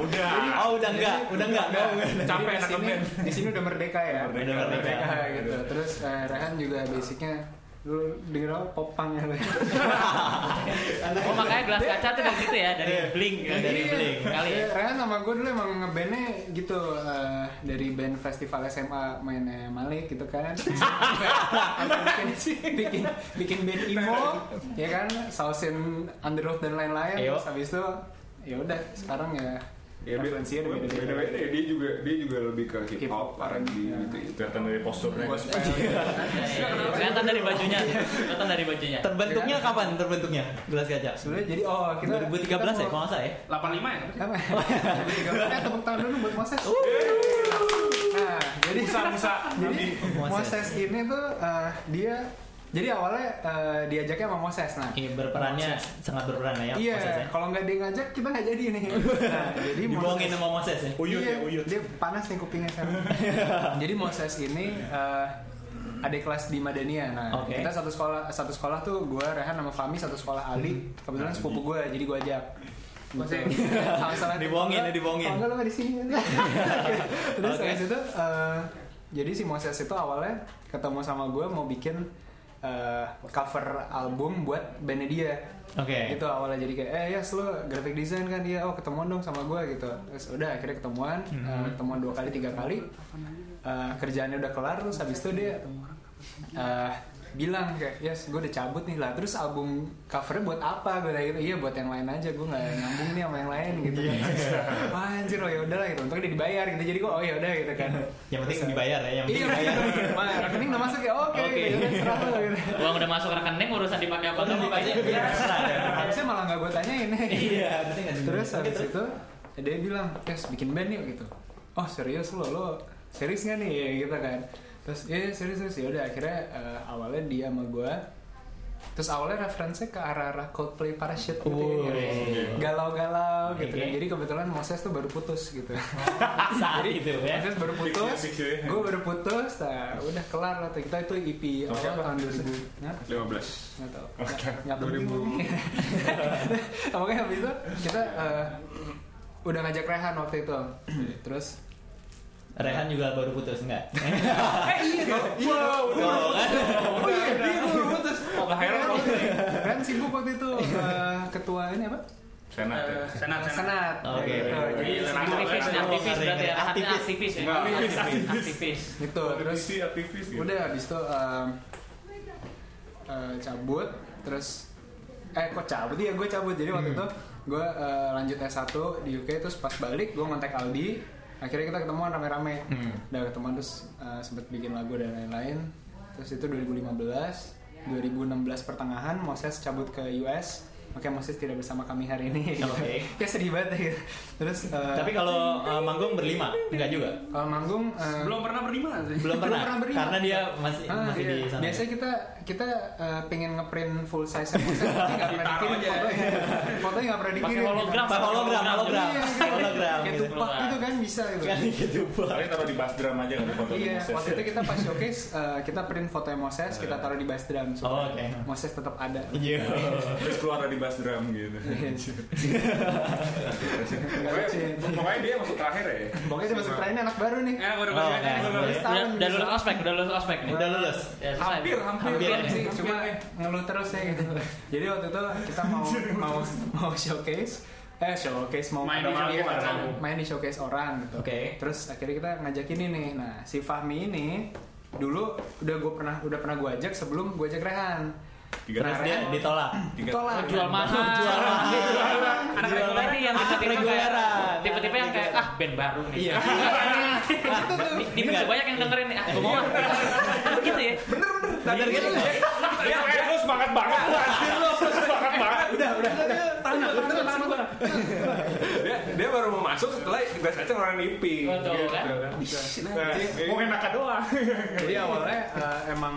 H: udah.
C: Oh, udah enggak, udah enggak. Oh, enggak.
H: Capek
F: di
G: ya,
H: anak
F: sini
H: band.
F: di sini udah merdeka ya
H: Merdeka.
C: Udah merdeka.
F: gitu terus eh, Rehan juga basicnya lu denger apa popang ya
D: Oh makanya gelas kaca tuh dari situ ya, dari
C: Iya.
D: bling. ya, Dari
C: Iya.
D: bling kali ya.
F: Iya, Rehan sama gue dulu emang ngebandnya gitu eh, dari band festival SMA mainnya Malik gitu kan Sampai- sampai bikin, bikin bikin band emo ya kan sausin underdog dan lain-lain
C: Ayo.
F: terus habis itu ya udah sekarang ya
G: Ya be-
F: referensinya udah
G: beda-beda ya. dia juga dia juga lebih ke hip hop,
F: Hip-hop,
G: R&B
C: Iya.
F: ya.
G: gitu gitu.
H: Kelihatan dari posturnya. kan.
F: Gospel.
D: Kelihatan dari bajunya, kelihatan dari bajunya.
C: Terbentuknya kapan terbentuknya gelas kaca?
F: Sebenarnya jadi oh
C: 2013
F: kita kita
C: ya,
F: mau-
C: kalau nggak salah ya.
E: 85 ya?
F: Apa? Eh, tepuk tangan dulu buat Moses. Nah, jadi Jadi Moses ini tuh eh, dia jadi awalnya eh, diajaknya sama Moses. Nah,
C: Iya, berperannya sangat berperan ya.
F: iya.
C: Moses ya.
F: Kalau nggak dia ngajak kita nggak jadi
C: (laughs)
F: nih. Nah, jadi
C: Dibohongin sama Moses ya.
H: Uyut
F: Iya,
H: ya, uyut.
F: Dia panas nih kupingnya sekarang.
C: (laughs)
F: Jadi Moses ini eh, adik kelas di Madania. Nah,
C: Oke.
F: kita satu sekolah satu sekolah tuh gue Rehan sama Fami satu sekolah
C: Hmm.
F: Ali. Kebetulan sepupu gue, jadi gue ajak.
C: (laughs)
E: Maksudnya,
F: Sama-sama
C: Gitu. Dibohongin,
F: Kalau-
C: dibohongin.
F: kalau enggak lu nggak
C: (laughs)
F: di sini. Terus
C: Oke.
F: habis itu eh, jadi si Moses itu awalnya ketemu sama gue mau bikin eh, cover album buat bandnya dia
C: Oke.
F: gitu awalnya jadi kayak eh yes lo graphic design kan dia oh ketemuan dong sama gue gitu terus udah akhirnya ketemuan
C: Hmm.
F: eh, ketemuan dua kali tiga kali Eh, kerjaannya udah kelar terus habis itu dia eh, bilang kayak yes gue udah cabut nih lah terus album covernya buat apa gue gitu iya buat yang lain aja gue nggak nyambung nih sama yang lain gitu kan
C: Iya.
F: wah anjir oh ya udahlah gitu untungnya dia dibayar gitu jadi gue oh ya udah gitu kan
C: Yang penting
F: Terus, eh,
C: dibayar ya, yang penting
F: Iya,
C: dibayar.
F: Mah, rekening udah masuk ya, oke,
D: Oke.
F: gitu, ya, serah lo, gitu.
D: Uang udah masuk rekening urusan dipakai apa
C: Kalau
D: tuh Iya.
C: mau banyak,
D: pokoknya.
F: Iya.
C: ya, terserah ya.
F: Harusnya malah nggak gue tanyain
C: Iya, penting nggak sih?
F: Terus
C: Oke,
F: habis itu dia bilang, "Yes, bikin band yuk" gitu. "Oh, serius lo? Lo serius nggak nih?" Ya, gitu kan. Terus, "Iya, iya, serius, serius." Ya udah akhirnya eh, awalnya dia sama gue Terus awalnya referensinya ke arah-arah Coldplay Parachute gitu
C: Wuih.
F: ya, guys. Galau-galau gitu
D: Oke.
F: Jadi kebetulan Moses tuh baru putus gitu
C: (laughs) Saat itu ya.
F: Moses baru putus, gue baru putus, nah, udah kelar lah tuh. Kita itu EP awal tahun 2000 Hah?
G: 15.
F: Nggak tahu. Nggak- nggak penting. (laughs) Nah, Makanya habis itu kita eh, udah ngajak Rehan waktu itu. Terus
C: Rehan juga baru putus
F: (laughs)
C: enggak?
G: Wow,
C: Oh, kan?
F: Oh iya, dia baru putus.
H: Oh, gak heran loh.
F: Rehan sibuk waktu itu eh, ketua ini apa?
H: Senat ya.
F: Eh.
E: senat, senat.
F: Senat.
C: Oke.
F: Gitu, jadi
D: Iya, Aktivis,
C: Senang.
D: aktivis berarti ya. Aktivis,
C: Aktivis.
D: aktivis. ya.
G: Enggak,
D: Aktivis.
F: gitu. Terus
H: Aktivis, aktivis
C: Iya.
H: gitu.
F: udah habis itu em, eh, cabut terus eh kok cabut ya gue cabut jadi
C: Hmm.
F: waktu itu gue eh, lanjut S1 di UK terus pas balik gue ngontak Aldi akhirnya kita ketemuan rame-rame
C: Hmm.
F: udah ketemuan terus eh, sempet bikin lagu dan lain-lain terus itu 2015 2016 pertengahan Moses cabut ke US makanya Moses tidak bersama kami hari ini
C: Oke.
F: (laughs) ya sedih banget ya gitu. terus eh,
C: Tapi kalau eh, manggung berlima enggak juga.
F: kalau manggung eh,
E: Belum pernah berlima sih.
C: Belum pernah.
F: pernah berlima.
C: Karena dia masih
F: Ah,
C: masih
F: iya.
C: di sana. ya?
F: Biasanya kita kita eh, pengen ngeprint full size sama saya, tapi nggak pernah
E: Ditaruh
F: dikirim
E: aja.
F: fotonya. Fotonya nggak pernah
D: Pakai
F: dikirim.
D: hologram.
C: Pak hologram, hologram,
F: Iya, gitu.
C: hologram.
F: Kayak
C: gitu.
F: tupak gitu kan bisa gitu.
C: Kan gitu, Pak.
H: Kalian taruh di bass drum aja kan di foto
F: Iya,
H: Moses.
F: waktu itu kita pas showcase eh, kita print foto Moses, kita
G: Iya.
F: taruh di bass drum supaya
C: Oh, oke.
F: Moses tetap ada. Iya.
C: Iya.
H: Terus keluar dari bass drum
F: (laughs)
H: gitu.
F: Nggak lucu ya.
G: Pokoknya dia masuk terakhir ya.
F: Pokoknya dia masuk terakhir anak baru nih.
E: Ya, gue udah
C: Oh,
E: baca.
C: oke.
E: Gua baru-
C: Boleh.
D: Udah udah lulus ospek, udah lulus ospek nih.
C: Udah lulus.
D: Ya, selesai.
G: Hampir, hampir.
D: ya.
F: sih, Iya, cuma ngeluh terus ya gitu. Jadi waktu itu kita mau mau mau showcase eh showcase mau
E: Main
F: ada
E: di
F: orang,
E: showcase
F: orang,
E: orang.
F: main di showcase orang gitu.
C: Oke.
F: Terus akhirnya kita ngajak ini nih. Nah, si Fahmi ini dulu udah gue pernah udah pernah gue ajak sebelum gue ajak Rehan. Nah,
H: Tiga
C: Terus dia ditolak.
H: Tiga-
F: Tolak.
D: Oh, Jual mahal.
C: Jual mahal.
D: Anak
C: Jual
D: reguleran yang
C: mahal.
D: tipe-tipe kayak-
C: Reguleran.
D: Tipe-tipe tipe yang kayak ah band baru nih.
C: Iya.
D: Ah, di- di band udah banyak yang dengerin nih. Ah, gua mau. ah. gitu ya.
F: Nah,
C: Bener gitu ya.
H: Ya, kayak lu semangat banget lu anjir lu semangat banget. Udah, udah.
G: dia dia baru mau masuk setelah gue saja orang nipi
D: Betul kan?
H: Mau enakan doang.
F: (laughs) Jadi awalnya eh, emang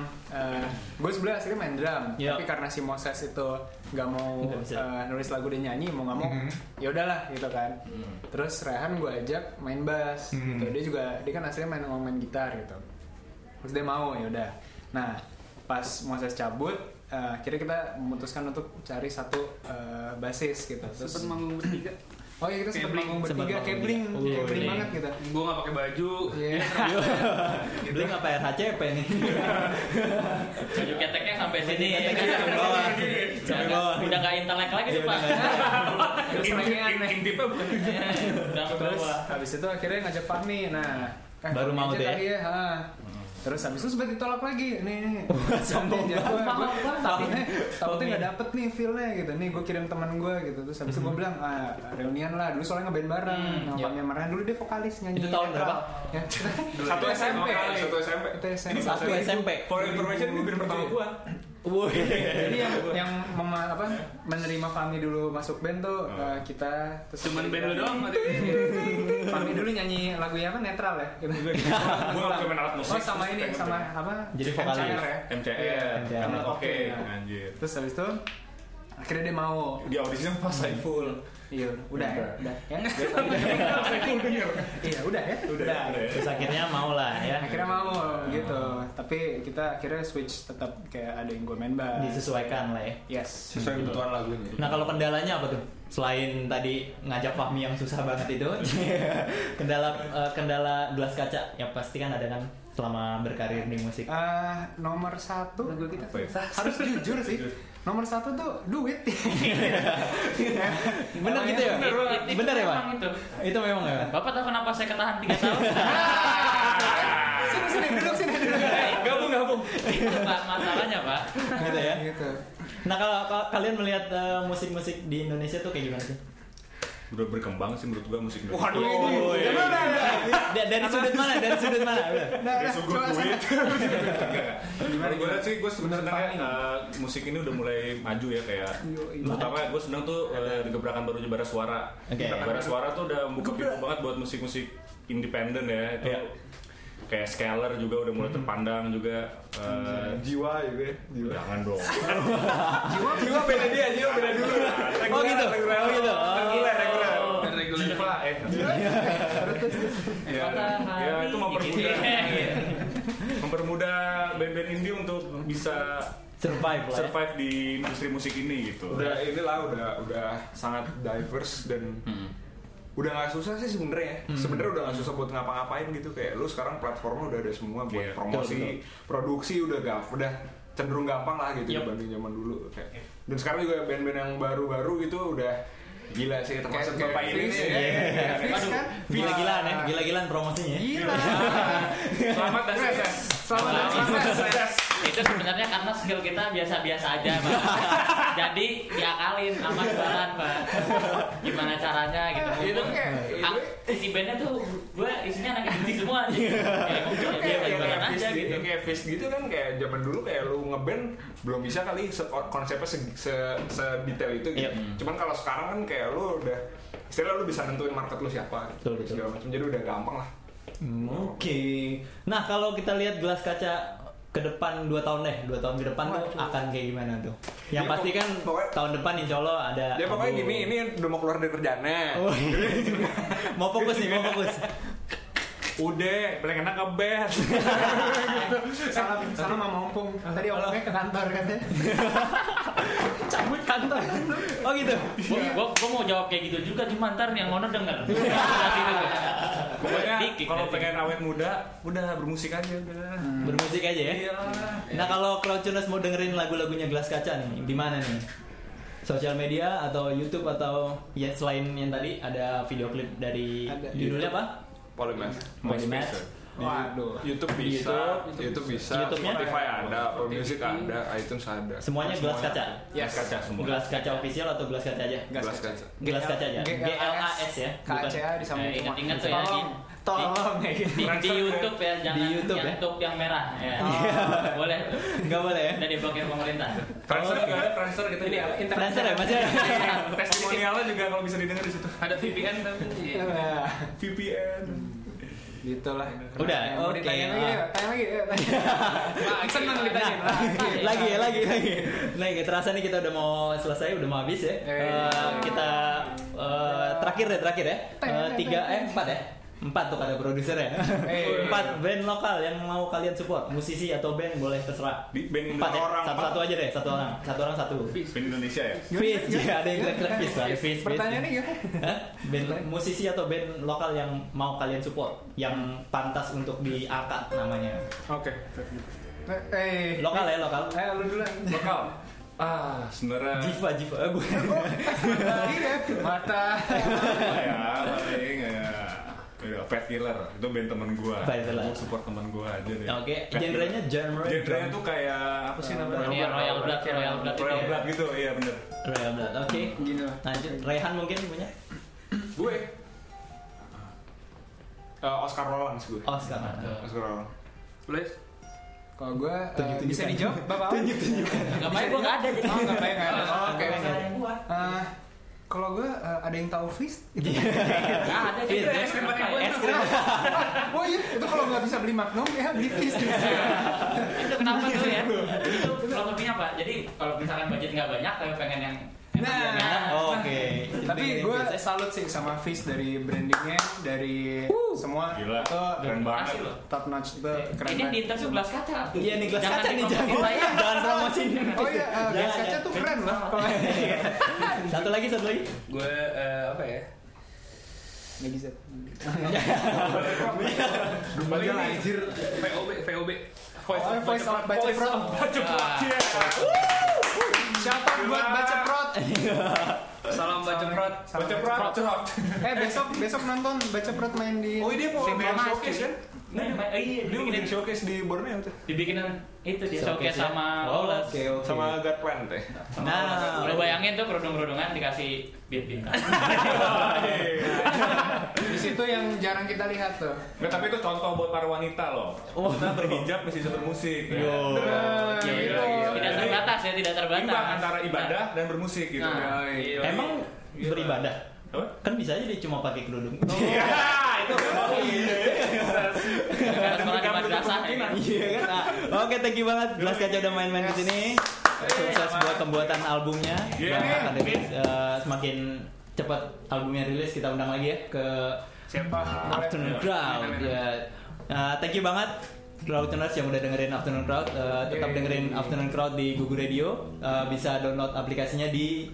F: gue sebenernya aslinya main drum,
C: Yep.
F: tapi karena si Moses itu nggak mau
C: Iya. Nggak bisa.
F: eh, nulis lagu dan nyanyi, mau nggak mau,
H: Mhm.
F: ya udahlah gitu kan.
H: Hmm.
F: Terus Rehan gue ajak main bass, gitu. Dia juga dia kan aslinya main mau main gitar gitu. Terus dia mau ya udah. Nah pas Moses cabut, eh, akhirnya kita memutuskan untuk cari satu eh, bassist gitu. Terus,
E: Sempet manggung bertiga.
F: oh iya kita sempat
E: Kebling.
F: manggung
C: Sempet
F: bertiga,
C: manggung
F: kayak bling,
C: bertiga.
F: kayak
C: Oh,
F: bling
C: iya.
F: banget gitu.
E: Gue nggak pakai baju.
F: Iya.
C: Beli apa RHCP nih?
F: (laughs)
D: Baju keteknya sampai sini. ya kan?
C: Iya, Sampai bawah. Iya,
D: Udah
C: Sampai
D: nggak-
C: bawah.
D: Udah nggak intelek lagi
C: Iya,
D: tuh, Pak.
C: udah nggak
F: Serangan.
H: Intipnya bukan
D: Udah ke
F: Terus
D: bawah.
F: habis itu akhirnya ngajak Fahmi. Nah, eh,
C: Baru
F: Fahmi
C: mau
F: aja
C: tuh ya?
F: kali ha. Terus habis itu sempat ditolak lagi. Nih, nih.
C: sombong
F: Nih, jadwal.
D: banget.
F: Gua-
D: Sombong
F: Takutnya takutnya
C: Fahmi.
F: nggak dapet nih feel-nya gitu. Nih gue kirim teman gue gitu. Terus habis itu gue bilang, ah, reunian lah. Dulu soalnya ngeband bareng. Nah,
C: Hmm. iya.
F: Fahmi sama Rehan dulu dia vokalis nyanyi.
C: Itu tahun berapa? (laughs)
F: Ya.
G: satu SMP satu SMP
F: Kita SMP.
G: Ini
C: Satu SMP.
G: for information ini band pertama gua
C: Woi.
F: Jadi yang, yang mema- apa, menerima Fahmi dulu masuk band tuh eh,
G: Hmm.
F: kita terus
E: Cuman band lu doang. waktu itu.
F: (laughs) Fahmi dulu nyanyi lagunya apa netral ya? Gitu.
H: Gua nggak bisa main alat musik.
F: Oh sama ini sama apa?
C: Jadi vokalis.
F: MCR ya.
H: MCR.
C: Iya.
H: Karena oke
F: Oke.
H: anjir.
F: Terus habis itu akhirnya dia mau.
H: Di audisinya pas
F: (laughs)
H: Saiful.
F: Iya, udah ya, udah ya. Iya, udah ya. Udah.
C: Terus akhirnya mau lah ya.
F: Akhirnya mau gitu. Tapi kita akhirnya switch tetap kayak ada yang gue main bass.
C: Disesuaikan lah ya.
F: Yes.
G: sesuai kebutuhan lagunya
E: Eh,
C: Nah kalau kendalanya apa tuh? Selain tadi ngajak Fahmi yang susah banget itu, (laughs) kendala eh, kendala gelas kaca ya pasti kan ada kan selama berkarir di musik.
F: Eh, nomor satu
H: Apa ya?
F: harus jujur sih. Nomor satu tuh duit. (laughs) Gitu.
C: Bener gitu ya?
D: Bener, Pak.
C: Bener ya Pak?
D: Memang itu.
C: Itu memang ya? Pak?
D: Bapak tahu kenapa saya ketahan 3 tahun?
F: sini sini duduk sini duduk.
D: Gabung gabung. Itu Pak masalahnya Pak.
C: Gitu ya?
F: Gitu.
C: Nah kalau kalau kalian melihat eh, musik-musik di Indonesia tuh kayak gimana sih?
H: Udah berkembang sih menurut gua musik Indonesia. Oh, iya.
F: Waduh,
H: Woi.
F: ini. Gimana?
C: Oh, iya. Da- dari sudut mana? Dari sudut mana? Udah.
F: Nah,
H: Dari
F: nah,
H: sungguh
F: coba sana.
H: (laughs) duit. Gimana gue liat sih gue sebenarnya
F: Fahmi.
H: eh, musik ini udah mulai maju ya kayak
F: Yoi.
H: terutama gue seneng tuh eh, di gebrakan barunya Bara Suara.
C: Oke.
H: Gebrakan Bara Suara tuh udah buka pintu banget buat musik-musik independen ya itu.
C: Iya.
H: Kayak Scalar juga udah mulai
C: Hmm.
H: terpandang juga. eh,
G: jiwa juga ya, jiwa
H: jangan dong. (laughs)
G: jiwa beda dia jiwa beda dulu
C: Oh gitu? Oh gitu?
G: reguler reguler
E: Dan reguler.
H: Jiva eh. Ya, ya itu mempermudah
D: Iya.
H: mempermudah band-band indie untuk bisa
C: Survive lah ya?
H: survive di industri musik ini gitu.
G: udah inilah udah udah sangat diverse dan udah nggak susah sih sebenarnya ya. sebenarnya udah nggak susah buat ngapa-ngapain gitu kayak lu sekarang platformnya udah ada semua buat
H: Iya.
G: promosi
C: Betul,
G: produksi udah gak udah cenderung gampang lah gitu dibanding zaman dulu kayak dan sekarang juga band-band yang baru-baru gitu udah gila sih termasuk
F: Kayak-
H: Nah,
G: bapak
F: kayak
G: ini
F: Fizz
G: nih
F: ya.
G: ya.
F: Kayak Fizz
D: Aduh,
F: kan?
C: Gila-gilaan ya? Gila-gilaan promosinya ya?
F: Gila.
H: Selamat dan sukses.
F: Selamat dan selamat.
D: Itu sebenarnya karena skill kita biasa-biasa aja Pak. Jadi diakalin sama jualan Pak. Gimana caranya gitu.
G: itu
D: Mumpung-
G: kayak
D: Ah, isi bandnya tuh gue isinya anak indie semua aja. Kayak
G: itu
D: mungkin
G: kayak
D: dia
G: kayak
D: banget
G: Fizz
D: aja
G: gitu
D: gitu.
G: kayak Fizz gitu kan kayak zaman dulu kayak lu ngeband belum bisa kali se- konsepnya se, se- sedetail itu gitu.
C: Iya.
G: Cuman kalau sekarang kan kayak lu udah istilah lu bisa nentuin market lu siapa gitu.
C: Betul, betul.
G: segala macam jadi udah gampang lah.
C: Hmm, Oke. Nah, kalau kita lihat gelas kaca ke depan 2 tahun deh, 2 tahun ke depan tuh akan kayak gimana tuh? Yang
G: Ya,
C: pasti kan
G: pokoknya-
C: tahun depan insya Allah ada
G: Ya pokoknya
C: album.
G: gini ini udah mau keluar dari ya. kerjaannya.
C: Oh, iya. mau fokus nih, mau fokus.
H: Udah, paling enak
G: (laughs)
H: ngeband.
F: Salam salam sama Ompong. Tadi Ompongnya ke kantor katanya.
C: Cabut kantor. Oh gitu.
D: Gue gue mau jawab kayak gitu juga cuma ntar yang ngono denger. Pokoknya
H: Pokoknya kalau pengen awet muda, udah bermusik aja udah.
C: Bermusik aja ya.
G: Iya.
H: Iyalah.
C: Nah, kalau Crowdtuners mau dengerin lagu-lagunya gelas kaca nih, di mana nih? Sosial media atau YouTube atau ya selain yang tadi ada video klip dari
F: Ada.
C: judulnya apa?
G: Polymath.
C: Body Match.
F: Iya. Waduh.
G: YouTube bisa, YouTube, bisa,
C: YouTube-nya?
G: Spotify ada, Apple Music ada, iTunes ada.
C: Semuanya gelas kaca.
F: Yes.
H: kaca semua.
C: Gelas kaca official atau gelas kaca aja?
F: Gas
G: Gelas
F: kaca.
G: kaca.
C: Gelas kaca aja. GLAS ya, bukan.
F: KCA ah, disambung
D: Eh, ingat-ingat tuh ya,
F: tolong,
D: Din.
F: tolong ya gitu.
D: di, di YouTube ya jangan
C: Di YouTube
D: yang
C: ya?
D: top yang merah ya boleh
C: Enggak boleh ya?
D: udah diblokir pemerintah
H: Friendster juga ada, Friendster kita
E: Ini
H: juga
E: apa?
H: ada.
E: Internet.
C: Friendster ya masih ada.
H: Testimonialnya juga kalau bisa didengar di situ. Iya,
E: Ada VPN tapi.
F: Nah,
H: VPN.
F: gitu lah.
C: Udah,
F: Mau
C: oke.
F: ditanya lagi, ya? yuk. tanya lagi, yuk, tanya.
E: Nah, seneng ditanya.
H: gitu.
C: Nah, lagi ya, lagi, lagi. Nah, ya, terasa nih kita udah mau selesai, udah mau habis ya.
F: Eh.
C: Eh, kita eh, terakhir deh, terakhir ya. Eh, tiga, eh empat ya. Empat tuh kata produser ya.
F: Eh.
C: Empat band lokal yang mau kalian support, musisi atau band boleh terserah.
H: Di band
C: Empat ya,
H: orang.
C: satu-satu aja deh, satu orang, satu orang satu.
H: Band Indonesia ya.
C: Fizz, ya, ada yang kira-kira Fizz lah. Fizz, Fizz.
F: Pertanyaannya gimana?
C: Hah? Band musisi atau band lokal yang mau kalian support, yang pantas untuk diangkat namanya.
F: Oke. Eh,
C: Lokal ya, lokal.
F: eh lu dulu.
H: Lokal. Ah, sebenarnya
C: Jiva, Jiva, eh, bukan.
F: Iya, mata.
H: apa ya paling ya Fat Killer itu band temen gua.
C: Fat Killer.
H: Gua support temen gua aja deh.
C: Oke,
H: Fat Killer.
C: genrenya genre
H: Genrenya tuh kayak Iya. apa sih namanya?
D: Iya, Royal Blood, Royal Blood gitu
H: Royal
D: ya.
H: Blood gitu, iya bener.
C: Royal Blood. Oke.
F: Gini lah.
C: Lanjut, Rehan mungkin punya
G: Gue eh, Oscar Rollins gue.
C: Oscar.
G: Oscar Rollins.
E: Please.
F: Kalau gue eh,
C: Tunjuk-tunjukkan.
F: bisa dijawab, Bapak.
C: Tunjuk-tunjukkan.
D: ngapain gua nggak ada jadi
F: Oh, enggak bayang ada. Oh, Oke.
D: Nggak
F: oke.
D: ada yang gua.
F: Eh, Kalau gue ada yang tahu Fizz?
D: Nggak ada
C: Fizz, ya?
D: jadi es krim pakai gua.
C: Es krim.
F: Oh iya, itu kalau nggak bisa beli Magnum ya beli Fizz.
D: itu kenapa tuh ya itu kurang lebihnya pak jadi kalau misalkan budget nggak banyak tapi pengen yang
F: Nah.
D: yang enak.
C: Oke.
F: Tapi gue salut sih sama Fizz dari brandingnya, dari semua
H: Gila.
F: itu
H: Keren banget.
D: Makasih loh
F: top notch itu keren
D: Eh, ini di
F: banget.
D: interview gelas kaca
C: Iya nih gelas
D: Jangan
C: kaca nih jangan
D: dikomporin saya.
C: jangan promosiin.
F: Oh iya, eh, gas
C: Jangan,
F: kaca
C: jangan.
F: tuh keren loh. Iya.
C: Satu lagi, satu lagi.
E: Gue eh, apa ya?
F: Nggak bisa.
E: Paling anjir VOB VOB.
F: Oh,
E: of
F: voice of baca
E: Voice
F: prot.
E: of Baca Prot.
F: Siapa buat baca prot?
E: Salam baca (laughs) prot.
F: Baca prot. Eh besok besok nonton baca prot main di.
G: Oh dia mau
D: Tim
G: bikin
D: Mas.
G: showcase kan?
D: Nah, ma- eh, iya,
G: Dia mau bikin
D: dibikinin-
G: showcase di Borneo tuh.
D: dibikinin itu dia
C: Showcase
D: showcase
C: ya?
D: sama
C: Oh,
D: Lawless.
C: Oke, oke.
G: Sama Garplant teh.
C: Nah,
D: Udah bayangin tuh kerudung-kerudungan dikasih beat beat.
F: Di situ yang jarang kita lihat tuh.
H: Nggak, tapi itu contoh buat para wanita loh.
C: Oh.
H: Kita berhijab masih bisa bermusik. ya.
C: Yo.
F: Nah, gitu.
D: Iya, iya, iya. Tidak
H: Jadi,
D: terbatas ya, tidak terbatas.
H: Imbang antara ibadah dan bermusik gitu. ya.
D: Nah, iya.
C: Emang
H: Iya.
C: beribadah?
H: Apa?
C: Kan bisa aja dia cuma pakai kerudung.
H: Iya, itu
D: Nggak harus sekolah di madrasah. ya.
C: Iya kan? Ah, Oke, thank you banget. Gelas kaca udah main-main di sini. Sukses buat pembuatan albumnya.
H: Yeah.
C: Dan akan rilis, eh, semakin cepat albumnya rilis kita undang lagi ya ke
F: Siapa? Iya,
C: Afternoon Crowd. Ya. Nah, thank you banget. Crowdtuners yang udah dengerin Afternoon Crowd, eh, tetap
F: Yeay.
C: dengerin Afternoon Crowd di Google Radio. Eh, bisa download aplikasinya di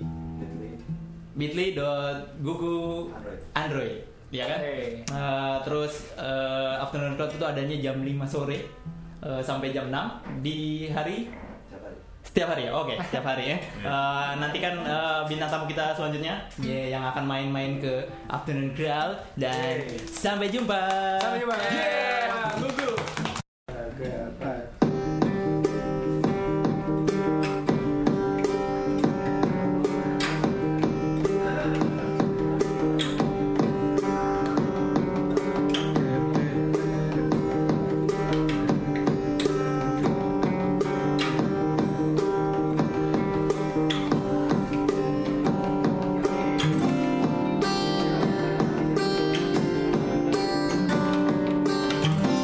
C: bit.ly.gugu android ya kan
F: Hey.
C: Eh, terus eh, afternoon crowd itu adanya jam 5 sore eh, sampai jam 6 di hari setiap hari ya oke setiap hari (laughs) ya Eh, nanti kan eh, bintang tamu kita selanjutnya ya, yang akan main-main ke afternoon crowd dan sampai jumpa
F: Sampai jumpa.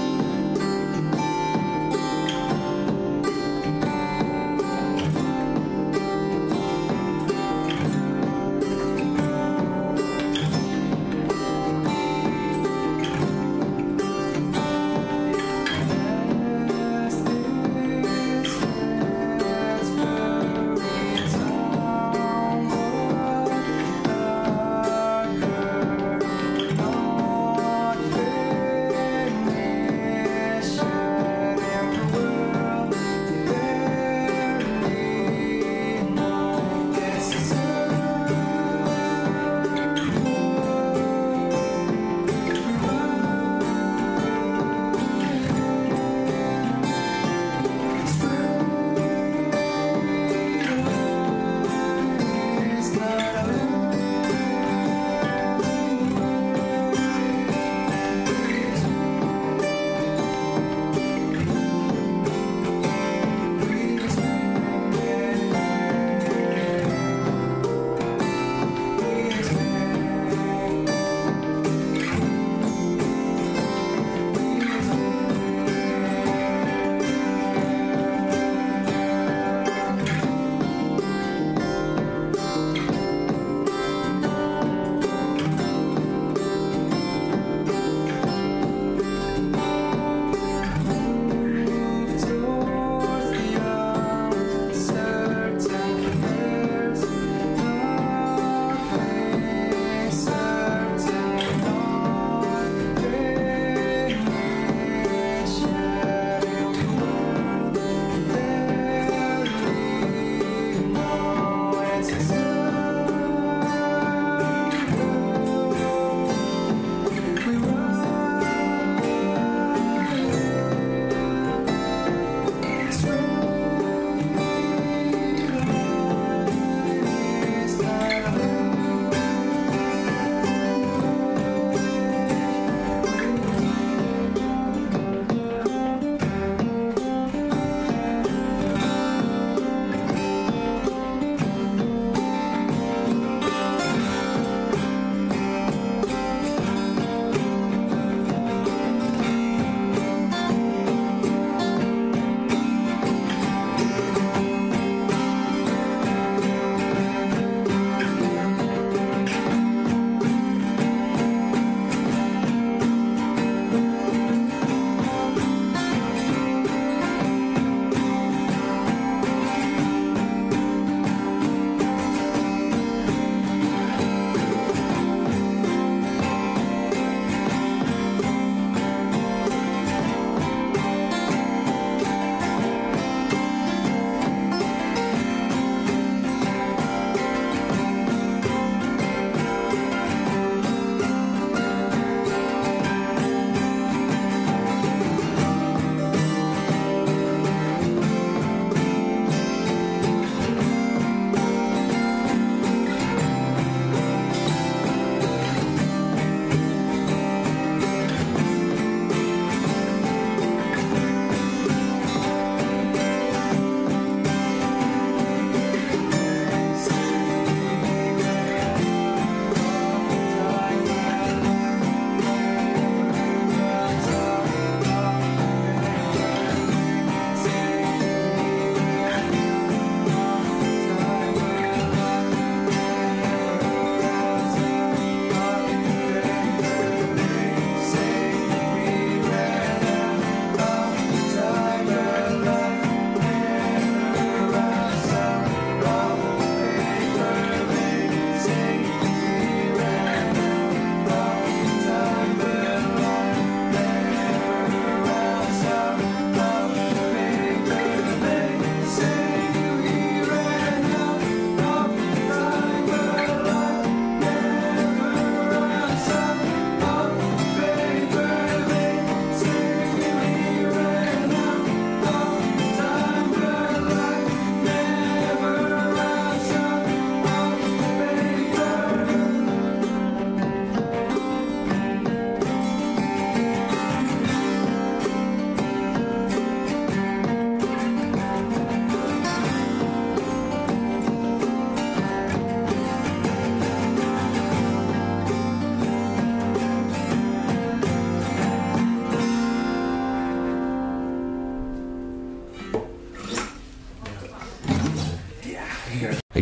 B: Thank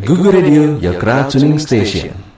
B: Google Radio, your crowd tuning station.